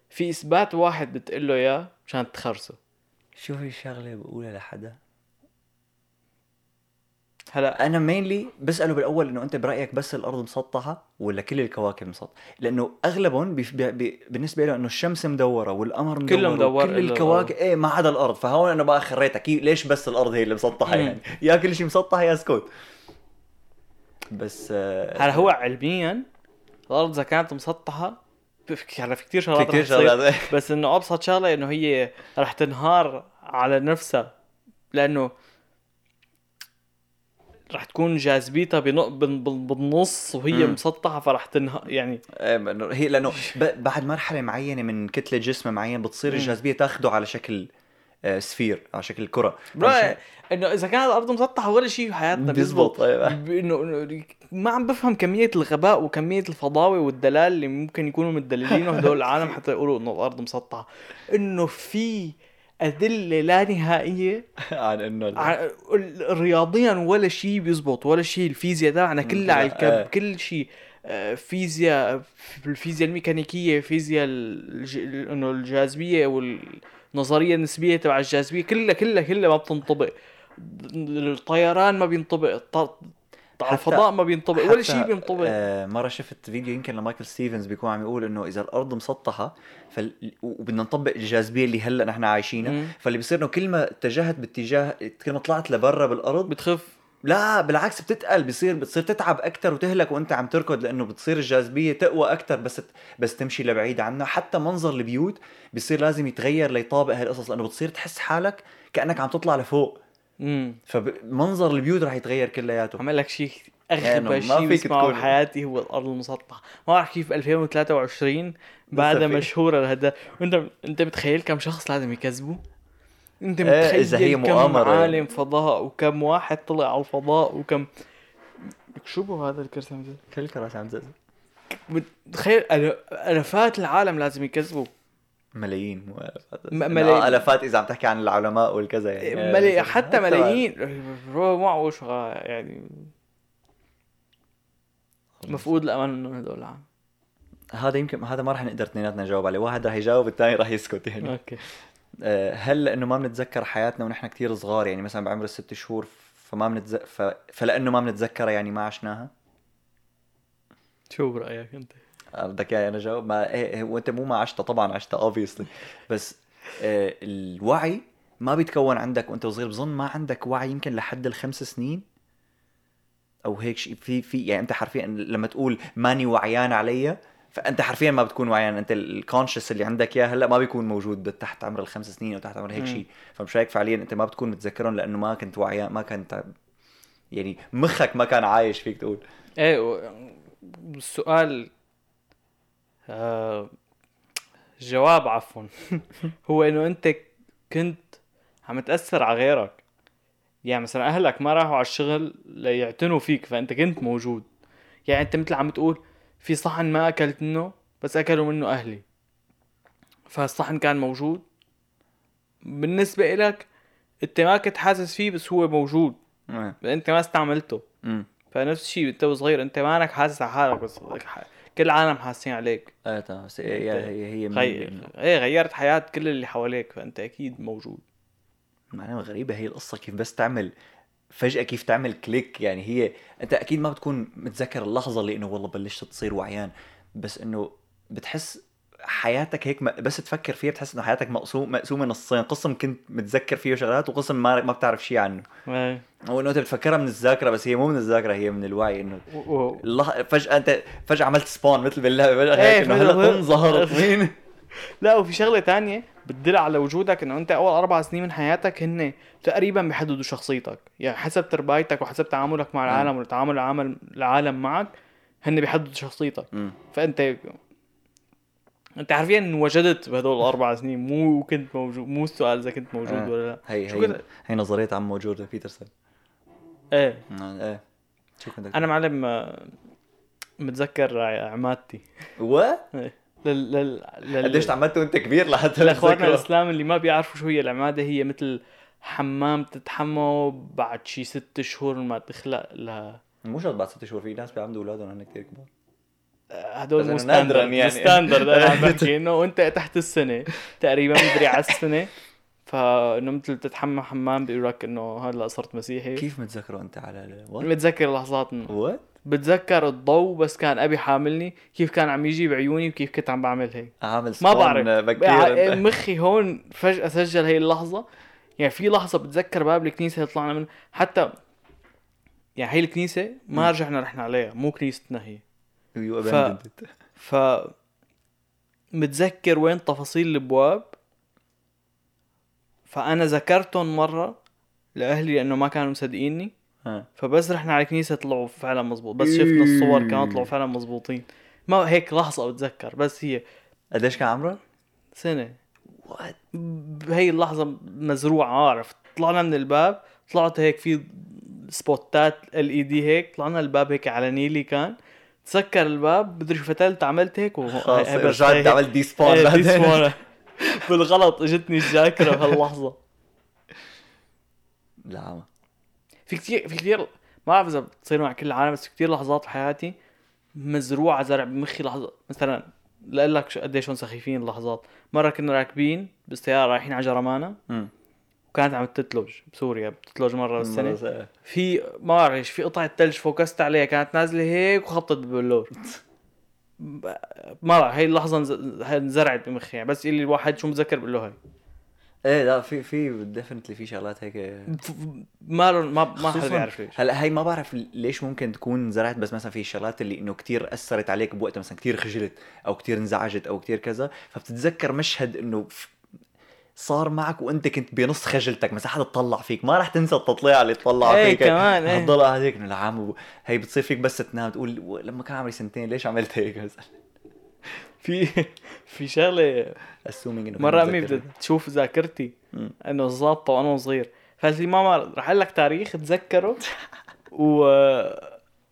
في إثبات واحد بتقول له إياه مشان تخرسه
شو في شغله بقولها لحدا
هلا
انا مينلي بساله بالاول انه انت برايك بس الارض مسطحه ولا كل الكواكب مسطحه لانه اغلبهم بي بي بالنسبه له انه الشمس مدوره والقمر مدور
كله مدور
كل
إلا الأرض.
الكواكب ايه ما عدا الارض فهون انا بقى خريتها كي ليش بس الارض هي اللي مسطحه
مم.
يعني يا كل شيء مسطح يا سكوت بس آه،
هلا هو علميا الأرض إذا كانت مسطحة في- في- هلا في كثير شغلات
في
رح
كثير
تصير.
شغلات
بس انه ابسط شغله انه هي رح تنهار على نفسها لانه رح تكون جاذبيتها بن- بن- بن- بالنص وهي
مم.
مسطحه فرح تنهار يعني
إيه، إنه هي لانه ب- بعد مرحله معينه من كتله جسم معين بتصير
مم.
الجاذبيه تاخده على شكل آه، سفير على شكل كره
برأي انه اذا كانت الارض مسطحه ولا شيء بحياتنا
بيزبط
بيزبط
ايوه
انه إنه ما عم بفهم كميه الغباء وكميه الفضاوه والدلال اللي ممكن يكونوا متدللينه هدول العالم حتى يقولوا انه الارض مسطحه انه في ادله لا نهائيه
عن انه ال-
ع- ال- رياضيا ولا شيء بيزبط ولا شيء الفيزياء تبعنا كلها على
آه.
الكب كل شيء آه، فيزياء الفيزياء الميكانيكيه فيزياء الج... ال- انه الجاذبيه والنظريه النسبيه تبع الجاذبيه كلها كلها كلها ما بتنطبق الطيران ما بينطبق الط...
حتى-
الفضاء ما بينطبق ولا
حتى،
شيء بينطبق
آه مره شفت فيديو يمكن لمايكل ستيفنز بيكون عم يقول انه اذا الارض مسطحه فال... وبدنا نطبق الجاذبيه اللي هلا نحن
مم.
عايشينها فاللي بيصير انه كل ما اتجهت باتجاه كل ما طلعت لبرا بالارض
بتخف
لا بالعكس بتتقل بصير بتصير تتعب اكثر وتهلك وانت عم تركض لانه بتصير الجاذبيه تقوى اكثر بس بس تمشي لبعيد عنا حتى منظر البيوت بصير لازم يتغير ليطابق هالقصص لانه بتصير تحس حالك كانك عم تطلع لفوق
امم
فمنظر البيوت رح يتغير كلياته
عم اقول لك شيء
يعني ما
اغبى شيء
فيك
بسمعه
تكون-
بحياتي هو الارض المسطحه ما بعرف كيف 2023
لسه
بعدها
في.
مشهوره لهدا انت انت متخيل كم شخص لازم يكذبوا انت
إيه،
متخيل
إذا هي مؤامرة
كم
يعني.
عالم فضاء وكم واحد طلع على الفضاء وكم لك شو بو هذا الكرسي
كل كراس عم تزقزق
تخيل الافات العالم لازم يكذبوا
ملايين مو آلاف.
م-
إنه
ملايين.
آه، الافات اذا عم تحكي عن العلماء والكذا يعني
ملي...
آه،
حتى ملايين معه شغال يعني مفقود الامان منهم هدول العالم
هذا يمكن هذا ما رح نقدر اثنيناتنا نجاوب عليه واحد رح يجاوب الثاني رح يسكت يعني
اوكي
آه، هل لانه ما بنتذكر حياتنا ونحن كتير صغار يعني مثلا بعمر الست شهور فما بنتذكر ف... فلانه ما بنتذكرها يعني ما عشناها
شو برايك انت؟
آه، بدك اياي انا جاوب ما إيه إيه، وانت مو ما عشتها طبعا عشتها اوبيسلي بس آه، الوعي ما بيتكون عندك وانت صغير بظن ما عندك وعي يمكن لحد الخمس سنين او هيك شيء في في يعني انت حرفيا لما تقول ماني وعيان عليا فانت حرفيا ما بتكون وعيان انت الكونشس اللي عندك اياه هلا ما بيكون موجود تحت عمر الخمس سنين او تحت عمر هيك
مم.
شيء فمش هيك فعليا انت ما بتكون متذكرهم لانه ما كنت وعيان ما كنت يعني مخك ما كان عايش فيك تقول
ايه و- السؤال آه الجواب عفوا هو انه انت كنت عم تاثر على غيرك يعني مثلا اهلك ما راحوا على الشغل ليعتنوا فيك فانت كنت موجود يعني انت مثل عم تقول في صحن ما اكلت منه بس اكلوا منه اهلي فالصحن كان موجود بالنسبه إلك انت ما كنت حاسس فيه بس هو موجود
آه،
انت ما استعملته
امم
فنفس الشيء انت وصغير انت ما انك حاسس على حالك بس ح- كل العالم حاسين عليك
ايه تمام بس هي
يعني طيب.
هي هي من-
غير ايه غيرت حياة كل اللي حواليك فانت اكيد موجود
معناها غريبة هي القصة كيف بس تعمل فجأة كيف تعمل كليك يعني هي أنت أكيد ما بتكون متذكر اللحظة اللي إنه والله بلشت تصير وعيان بس إنه بتحس حياتك هيك م- بس تفكر فيها بتحس إنه حياتك مقسوم مقسومة نصين قسم كنت متذكر فيه شغلات وقسم ما ما بتعرف شيء عنه
ايه.
أو إنه أنت بتفكرها من الذاكرة بس هي مو من الذاكرة هي من الوعي إنه
و- و-
اللح... فجأة أنت فجأة عملت سبون مثل بالله فجأة
إيه،
هيك إنه
فجأة
هلا
ظهر-
انظهرت مين
لا وفي شغله تانية بتدل على وجودك انه انت اول اربع سنين من حياتك هن تقريبا بيحددوا شخصيتك يعني حسب تربايتك وحسب تعاملك مع العالم وتعامل العالم العالم معك هن بيحددوا شخصيتك
مم.
فانت انت حرفيا انوجدت بهدول الاربع سنين مو كنت موجود مو السؤال اذا كنت موجود
آه.
ولا لا
هي
شو
هي
كنت-
هي نظريه عمو جوردن بيترسون
ايه
ايه شو كنت
انا معلم آه، متذكر عمادتي
و
إيه. لل لل لل-
قديش تعمدت وانت كبير لحتى
لاخواننا
تتذكره؟
الاسلام اللي ما بيعرفوا شو هي العماده هي مثل حمام تتحمى بعد شي ست شهور ما تخلق لها
مو شرط بعد ست شهور في ناس بيعمدوا اولادهم هن كثير كبار
هدول
بس
مو
إنه نادراً
ستاندرد
يعني.
ستاندرد انا عم بحكي انه انت تحت السنه تقريبا مدري على السنه فانه مثل تتحمى حمام بيقول لك انه هلا صرت مسيحي
كيف متذكره انت على وات
متذكر لحظات إنه-
وات
بتذكر الضوء بس كان ابي حاملني كيف كان عم يجي بعيوني وكيف كنت عم بعمل هيك
عامل
ما
سبون
بعرف
بكير
بع-
انت.
يعني مخي هون فجأة سجل هي اللحظة يعني في لحظة بتذكر باب الكنيسة طلعنا منه حتى يعني هي الكنيسة ما رجعنا رحنا عليها مو كنيستنا هي
You
إيه، ف-
abandoned it.
ف متذكر وين تفاصيل الابواب فانا ذكرتهم مرة لاهلي لانه ما كانوا مصدقيني
ها.
فبس رحنا على الكنيسة طلعوا فعلا مزبوط بس شفنا الصور كانوا طلعوا فعلا مزبوطين ما هيك لحظة بتذكر بس هي
قديش كان عمرك؟
سنة بهي اللحظة مزروعة عرفت طلعنا من الباب طلعت هيك في سبوتات ال اي دي هيك طلعنا الباب هيك على نيلي كان تسكر الباب بدري شو فتلت عملت هيك و
خلص
هي-
رجعت
هي-
عملت دي سبون
إيه، دي سبونة. بالغلط اجتني الذاكرة بهاللحظة
لا عم.
في كثير في كثير ما بعرف اذا بتصير مع كل العالم بس في كثير لحظات بحياتي مزروعه زرع بمخي لحظه مثلا لاقول لك شو- قديش هون سخيفين اللحظات مره كنا راكبين بالسياره رايحين على جرمانه
مم.
وكانت عم تتلج بسوريا بتتلج مره بالسنه
إيه.
في ما بعرف إيش، في قطعه ثلج فوكست عليها كانت نازله هيك وخبطت بالبلور ب- ما بعرف هي اللحظه انز- هي انزرعت بمخي يعني بس يقول لي الواحد شو متذكر بقول له هي
ايه لا في في ديفنتلي في شغلات هيك
ف- ما لهم- ما ما حدا
خصوصاً-
بيعرف ليش
هلا هي ما بعرف ليش ممكن تكون زرعت بس مثلا في شغلات اللي انه كتير اثرت عليك بوقتها مثلا كتير خجلت او كتير انزعجت او كتير كذا فبتتذكر مشهد انه ف- صار معك وانت كنت بنص خجلتك مثلا حدا تطلع فيك ما راح تنسى التطليع اللي تطلع
إيه
فيك
كمان، إيه.
هتضل قاعد هيك انه العام هي بتصير فيك بس تنام تقول و- لما كان عمري سنتين ليش عملت هيك مثلا
في في شغله
assuming انه
مرة
كنت
امي
متذكر.
بدها تشوف ذاكرتي
مم.
انه الزابطة وانا صغير فقالت لي ماما رح اقول لك تاريخ تذكره و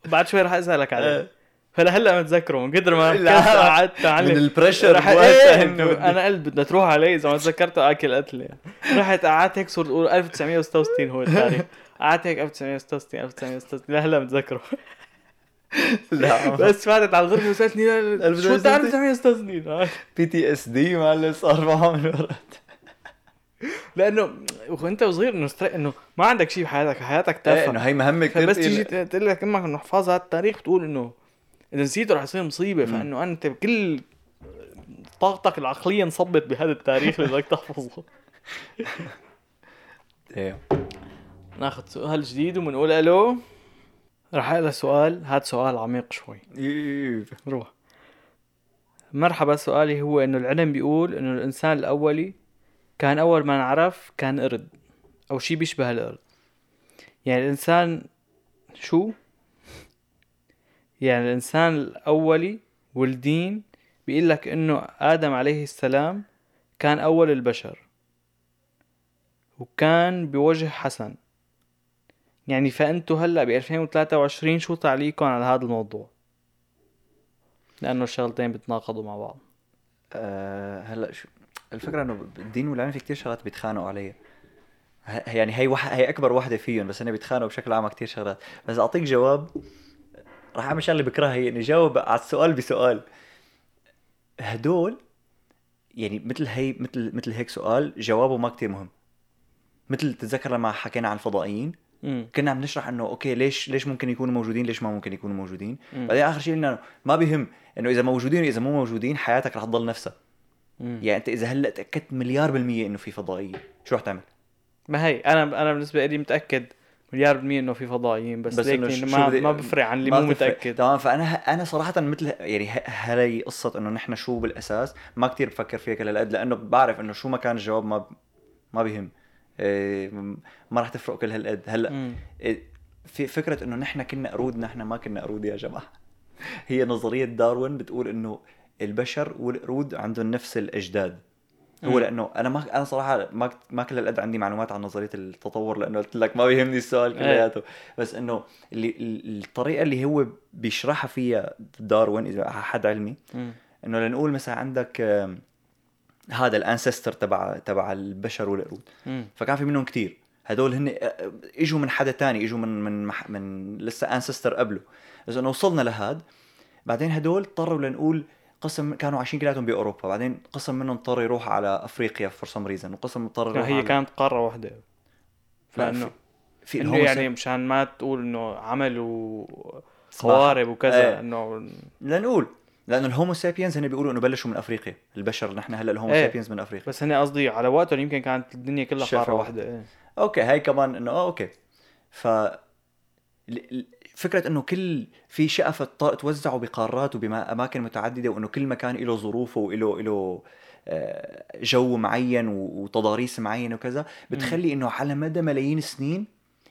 بعد شوي رح اسالك عليه
إيه.
فلهلا متذكره من قدر ما كنت
لا،
قعدت
من
اعلم
البريشر
رح
بوقتها
إيه
إنه
إنه
بدك-
انا قلت بدنا تروح علي اذا ما تذكرته اكل قتله رحت قعدت هيك صرت اقول 1966 هو التاريخ قعدت هيك 1966 1966 لهلا متذكره
لا
بس فاتت على الغرفه وسالتني لا، لا، شو بتعرف 1966
بي تي اس دي معلم صار معه من ورا
لانه وانت صغير انه استر- انه ما عندك شيء بحياتك حياتك
إيه،
تافهه
انه هي مهمه كثير
فبس تيجي ت- تقول لك امك انه احفظ هذا التاريخ بتقول انه اذا نسيته رح يصير مصيبه فانه انت كل طاقتك العقليه انصبت بهذا التاريخ اللي بدك تحفظه
ايه
ناخذ سؤال جديد وبنقول الو رح اقرا سؤال هاد سؤال عميق شوي روح مرحبا سؤالي هو انه العلم بيقول انه الانسان الاولي كان اول ما انعرف كان قرد او شيء بيشبه القرد يعني الانسان شو يعني الانسان الاولي والدين بيقول لك انه ادم عليه السلام كان اول البشر وكان بوجه حسن يعني فانتو هلا ب 2023 شو تعليقكم على هذا الموضوع لانه الشغلتين بتناقضوا مع بعض
آه، هلا شو الفكره انه الدين والعلم في كتير شغلات بيتخانقوا عليها ه- يعني هي وح... هي اكبر وحده فيهم بس انا بيتخانقوا بشكل عام على كتير شغلات بس اعطيك جواب راح اعمل شغله بكرهها هي اني جاوب على السؤال بسؤال هدول يعني مثل هي مثل مثل هيك سؤال جوابه ما كتير مهم مثل تتذكر لما حكينا عن الفضائيين
امم
كنا عم نشرح انه اوكي ليش ليش ممكن يكونوا موجودين ليش ما ممكن يكونوا موجودين
مم.
بعدين اخر شيء انه ما بهم انه اذا موجودين واذا مو موجودين حياتك رح تضل نفسها
يعني
يعني انت اذا هلا تاكدت مليار بالمية انه في فضائية شو رح تعمل؟
ما هي انا انا بالنسبه لي متاكد مليار بالمية انه في فضائيين بس,
بس
بس
إنه شو-
ليك
شو
ما
بدي-
ما بفرق عن اللي
ما
مو
بتفرق.
متاكد
تمام فانا انا صراحه مثل يعني ه- هاي قصه انه نحن شو بالاساس ما كتير بفكر فيها للقد لانه بعرف انه شو ما كان الجواب ما ب- ما بهم إيه، م- ما راح تفرق كل هالقد هلا
مم.
إيه، في فكره انه نحن كنا قرود نحن ما كنا قرود يا جماعه هي نظريه داروين بتقول انه البشر والقرود عندهم نفس الاجداد هو
مم.
لانه انا ما انا صراحه ما كت- ما كل القد عندي معلومات عن نظريه التطور لانه قلت لك ما بيهمني السؤال
إيه.
كلياته بس انه اللي ال- الطريقه اللي هو بيشرحها فيها داروين اذا حد علمي
مم.
انه لنقول مثلا عندك آم، هذا الانسستر تبع تبع البشر والقرود
مم.
فكان في منهم كتير هدول هن آه، اجوا من حدا تاني اجوا من من مح- من لسه انسستر قبله بس انه وصلنا لهاد بعدين هدول اضطروا لنقول قسم كانوا عايشين كلياتهم باوروبا بعدين قسم منهم اضطر يروح على افريقيا فور سم ريزن وقسم اضطر يروح
هي
على...
كانت قاره واحده
لا،
فانه
في, في
انه
الهومو-
يعني مشان ما تقول انه عمل وقوارب
صراحة.
وكذا
إيه.
انه
لنقول لانه الهومو سابينز هن بيقولوا انه بلشوا من افريقيا البشر نحن هلا الهومو
إيه.
سابينز من افريقيا
بس هنا قصدي على وقته يمكن كانت الدنيا كلها
شفرة
قاره
واحدة.
واحده إيه.
اوكي هاي كمان انه آه، اوكي ف ل- ل- فكرة انه كل في شقف الطاق توزعوا بقارات وباماكن متعددة وانه كل مكان له ظروفه وله له جو معين و- وتضاريس معينة وكذا بتخلي انه على مدى ملايين السنين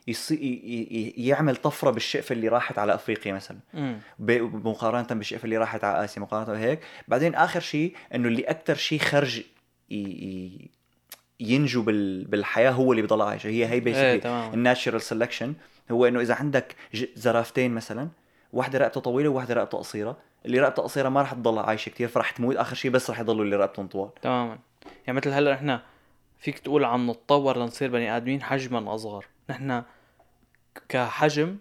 يصي... ي- ي- ي- يعمل طفرة بالشقف اللي راحت على افريقيا مثلا
مم.
ب- مقارنه بالشقف اللي راحت على اسيا مقارنه بهيك بعدين اخر شيء انه اللي اكثر شيء خرج ي- ي- ينجو بال... بالحياه هو اللي بيضل عايش هي هي
ايه
بيسكلي
تمام
الناتشرال سelection هو انه اذا عندك ج... زرافتين مثلا واحدة رقبتها طويلة وواحدة رقبتها قصيرة، اللي رقبتها قصيرة ما رح تضل عايشة كتير فرح تموت آخر شيء بس رح يضلوا اللي رقبتهم طوال.
تماما يعني مثل هلا نحن فيك تقول عم نتطور لنصير بني ادمين حجما اصغر نحن كحجم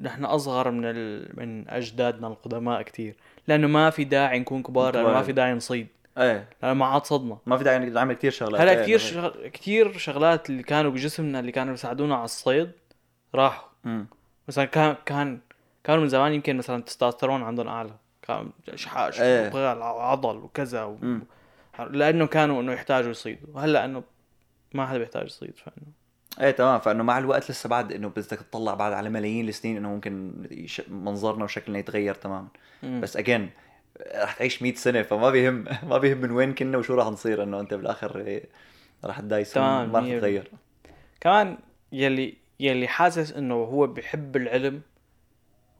نحن اصغر من ال... من اجدادنا القدماء كتير لانه ما في داعي نكون كبار لانه ما
كبار.
في داعي نصيد
ايه
لانه ما عاد صدنا
ما في داعي نعمل كتير شغلات.
إيه. هلا
إيه،
كثير
إنه هيك.
شغل... كثير شغلات اللي كانوا بجسمنا اللي كانوا بيساعدونا على الصيد راحوا
مم.
مثلا كان كان كانوا من زمان يمكن مثلا التستوستيرون عندهم اعلى كان اشحاش
إيه.
وبغال عضل وكذا و...
مم.
لانه كانوا انه يحتاجوا يصيدوا هلا انه ما حدا بيحتاج يصيد فانه
ايه تمام فانه مع الوقت لسه بعد انه بدك تطلع بعد على ملايين السنين انه ممكن يش... منظرنا وشكلنا يتغير تماما
مم.
بس اجين رح تعيش 100 سنه فما بيهم ما بيهم من وين كنا وشو رح نصير انه انت بالاخر إيه، رح تدايس
تمام،
ما رح
مية
تتغير
كمان يلي يلي حاسس انه هو بحب العلم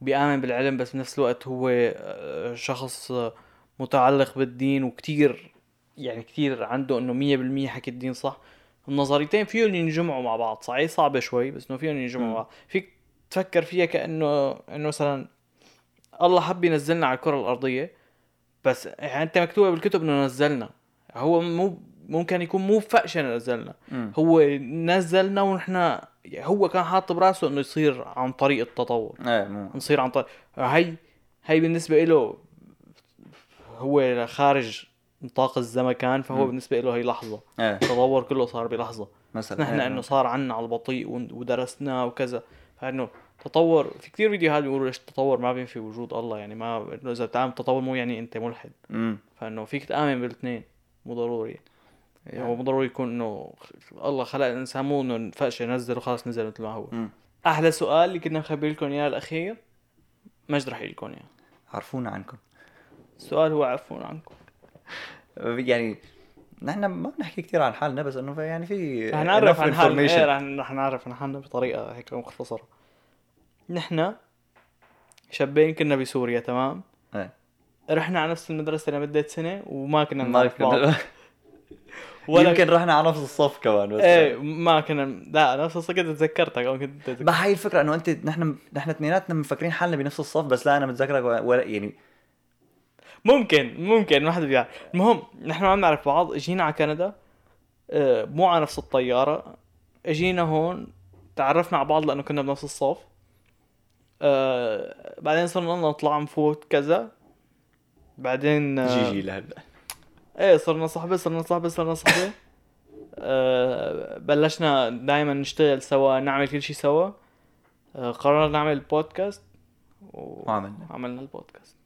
بيآمن بالعلم بس بنفس الوقت هو آه، شخص آه، متعلق بالدين وكتير يعني كتير عنده انه مية بالمية حكي الدين صح النظريتين فيهم ينجمعوا مع بعض صحيح صعبة شوي بس انه فيهم ينجمعوا
مم.
مع بعض فيك تفكر فيها كأنه انه مثلا الله حب ينزلنا على الكرة الأرضية بس يعني انت مكتوبة بالكتب انه نزلنا هو مو ممكن يكون مو فقشة نزلنا
مم.
هو نزلنا ونحن هو كان حاط براسه انه يصير عن طريق التطور
ايه مو
نصير عن طريق هي هي بالنسبه له هو خارج نطاق الزمكان فهو
م.
بالنسبه له هي لحظه
ايه
التطور كله صار بلحظه
مثلا
نحن
إيه،
انه صار عنا على البطيء ون- ودرسناه وكذا فانه تطور في كثير فيديوهات بيقولوا ليش التطور ما بينفي وجود الله يعني ما انه اذا بتعمل تطور مو يعني انت ملحد
مم.
فانه فيك تامن بالاثنين مو ضروري
إيه.
هو مو ضروري يعني يكون انه الله خلق الانسان مو انه فقشه نزل وخلاص نزل مثل ما هو
مم.
احلى سؤال اللي كنا مخبرين لكم اياه الاخير مجد رح يجي لكم اياه
عرفونا عنكم
السؤال هو عفوا عنكم
يعني نحن ما بنحكي كثير عن حالنا بس انه يعني في
رح نعرف
enough
عن حالنا
information.
إيه رح رح نعرف عن حالنا بطريقه هيك مختصره نحن شابين كنا بسوريا تمام
إيه.
رحنا على نفس المدرسه لمده سنه وما كنا
ما
نعرف بعض
كنا يمكن رحنا على نفس الصف كمان بس
ايه ما كنا لا نفس القصه كنت تذكرتك او كنت تذكرتك
ما هي الفكره انه انت نحن نحن اثنيناتنا مفكرين حالنا بنفس الصف بس لا انا متذكرك ولا- ولا يعني
ممكن ممكن ما حدا بيعرف المهم نحن ما بنعرف بعض اجينا على كندا آه، مو على نفس الطياره اجينا هون تعرفنا على بعض لانه كنا بنفس الصف آه، بعدين صرنا نطلع نفوت كذا بعدين آه،
جي جي لهلا
ايه صرنا صحبه صرنا صحبه صرنا صحبه آه، بلشنا دائما نشتغل سوا نعمل كل شيء سوا آه، قررنا نعمل بودكاست و-
وعملنا.
عملنا البودكاست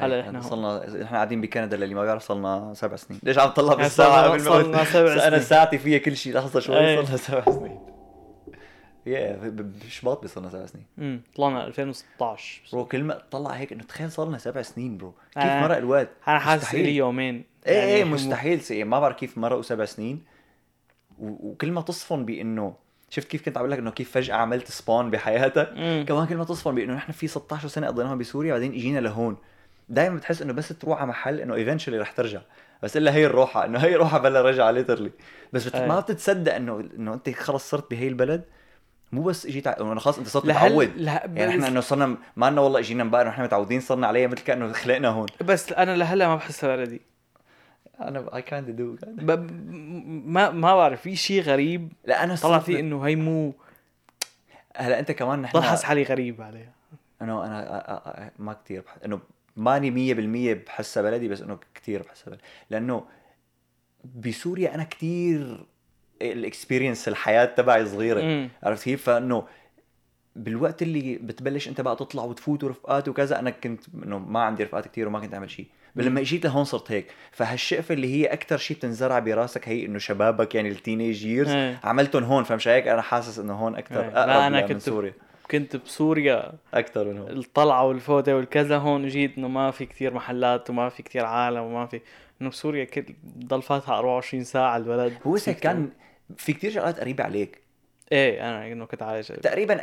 هلا إحنا هون.
إيه، وصلنا احنا قاعدين بكندا للي ما بيعرف صلنا سبع سنين ليش عم تطلع
يعني
بالساعه
صرنا-
قبل ما
صرنا سبع
انا
سنين.
ساعتي فيها كل شيء لحظه شوي
إيه.
صلنا سبع سنين يا مش بط صرنا سبع سنين
امم طلعنا 2016
برو كلمه طلع هيك انه تخيل صرنا سبع سنين برو كيف
آه.
مرق الوقت
انا حاسس يعني
مستحيل.
لي يومين
ايه ايه
مو-
مستحيل سي ما بعرف كيف مرقوا سبع سنين و- وكل ما تصفن بانه شفت كيف كنت عم بقول لك انه كيف فجاه عملت سبون بحياتك
مم.
كمان كل ما تصفن بانه نحن في 16 سنه قضيناهم بسوريا بعدين اجينا لهون دائما بتحس انه بس تروح على محل انه ايفنشولي رح ترجع بس الا هي الروحه انه هي روحه بلا رجع ليترلي بس بت...
إيه.
ما بتتصدق انه انه انت خلص صرت بهي البلد مو بس اجيت ع... انه خلص انت صرت
لهل-
متعود
له-
يعني احنا انه صرنا ما لنا والله اجينا بقى نحن متعودين صرنا عليها مثل كانه خلقنا هون
بس انا لهلا ما بحسها بلدي
انا اي كايند دو
ب... م- ما ما بعرف في شيء غريب
لا انا
طلع
صرت
فيه انه هي مو
هلا انت كمان نحن
ضل حاسس حالي غريب عليها
انه انا أ- أ- أ- ما كثير بح... انه ماني 100% بحسها بلدي بس انه كثير بحسها بلدي لانه بسوريا انا كثير الاكسبيرينس الحياه تبعي صغيره
مم.
عرفت كيف فانه بالوقت اللي بتبلش انت بقى تطلع وتفوت ورفقات وكذا انا كنت انه ما عندي رفقات كثير وما كنت اعمل شيء بس لما اجيت لهون صرت هيك فهالشقفه اللي هي اكثر شيء بتنزرع براسك هي انه شبابك يعني التينيج ييرز
إيه.
عملتهم هون فمش هيك انا حاسس انه هون اكثر
إيه.
اقرب
لا، أنا
أنا كنت من
كنت-
سوريا
كنت بسوريا
اكثر من هون
الطلعه والفوته والكذا هون جيت انه ما في كتير محلات وما في كتير عالم وما في انه بسوريا كل ضل فاتحه 24 ساعه البلد
هو سيك كان في كتير شغلات قريبة عليك
ايه انا انه كنت عايش
تقريبا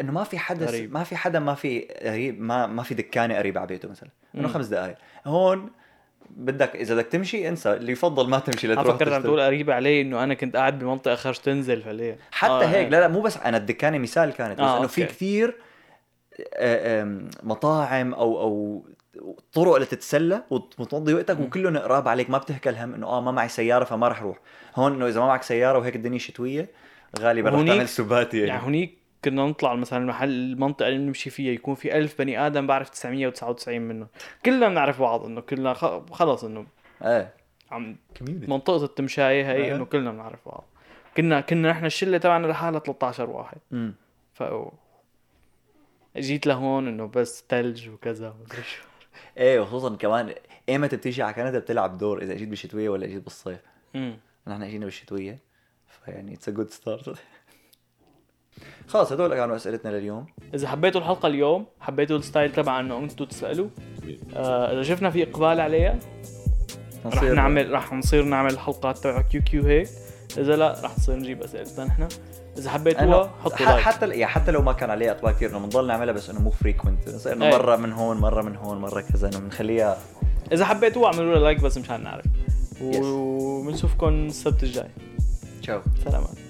انه ما في حدا
قريب.
ما في حدا ما في قريب ما ما في دكانه قريبه على بيته مثلا انه
مم.
خمس دقائق هون بدك اذا بدك تمشي انسى اللي يفضل ما تمشي
انا
لتروح
فكرت آه، عم
تشتري.
تقول قريبه عليه انه انا كنت قاعد بمنطقه خرج تنزل فليه
حتى
آه،
آه هيك
إيه.
لا لا مو بس انا الدكانه مثال كانت بس
آه،
آه انه في
أوكي.
كثير آه، آم، مطاعم او او طرق لتتسلى وت- وتقضي وقتك وكلهم قراب عليك ما بتهكى الهم انه اه ما معي سياره فما رح اروح هون انه اذا ما معك سياره وهيك الدنيا شتويه غالبا رح
وهونيك-
تعمل سبات يعني
يعني هنيك كنا نطلع مثلا المحل المنطقه اللي بنمشي فيها يكون في ألف بني ادم بعرف 999 منهم كلنا بنعرف بعض انه كلنا خ- خلص انه
ايه
عم
كوميونتي
منطقه التمشايه هي
آه.
انه كلنا بنعرف بعض كنا كنا نحن الشله تبعنا لحالها 13 واحد
امم
ف جيت لهون انه بس ثلج وكذا ومدري شو
ايه وخصوصا كمان ايمتى بتيجي على كندا بتلعب دور اذا اجيت بالشتويه ولا اجيت بالصيف
أمم.
نحن اجينا بالشتويه فيعني اتس ا جود ستارت خلص هدول كانوا اسئلتنا لليوم
اذا حبيتوا الحلقه اليوم حبيتوا الستايل تبع انه انتم تسالوا آه، اذا شفنا في اقبال عليها رح
نصير-
نعمل رح نصير نعمل حلقات تبع كيو كيو هيك اذا لا رح نصير نجيب اسئلتنا نحن اذا حبيتوها
أنا-
حطوا
ح-
لايك
حتى يعني حتى لو ما كان عليها اطباق كثير انه بنضل نعملها بس انه مو فريكونت نصير انه
إيه.
مره من هون مره من هون مره كذا انه بنخليها
اذا حبيتوها اعملوا لها لايك بس مشان نعرف
Yes.
وبنشوفكم السبت الجاي
تشاو
سلامات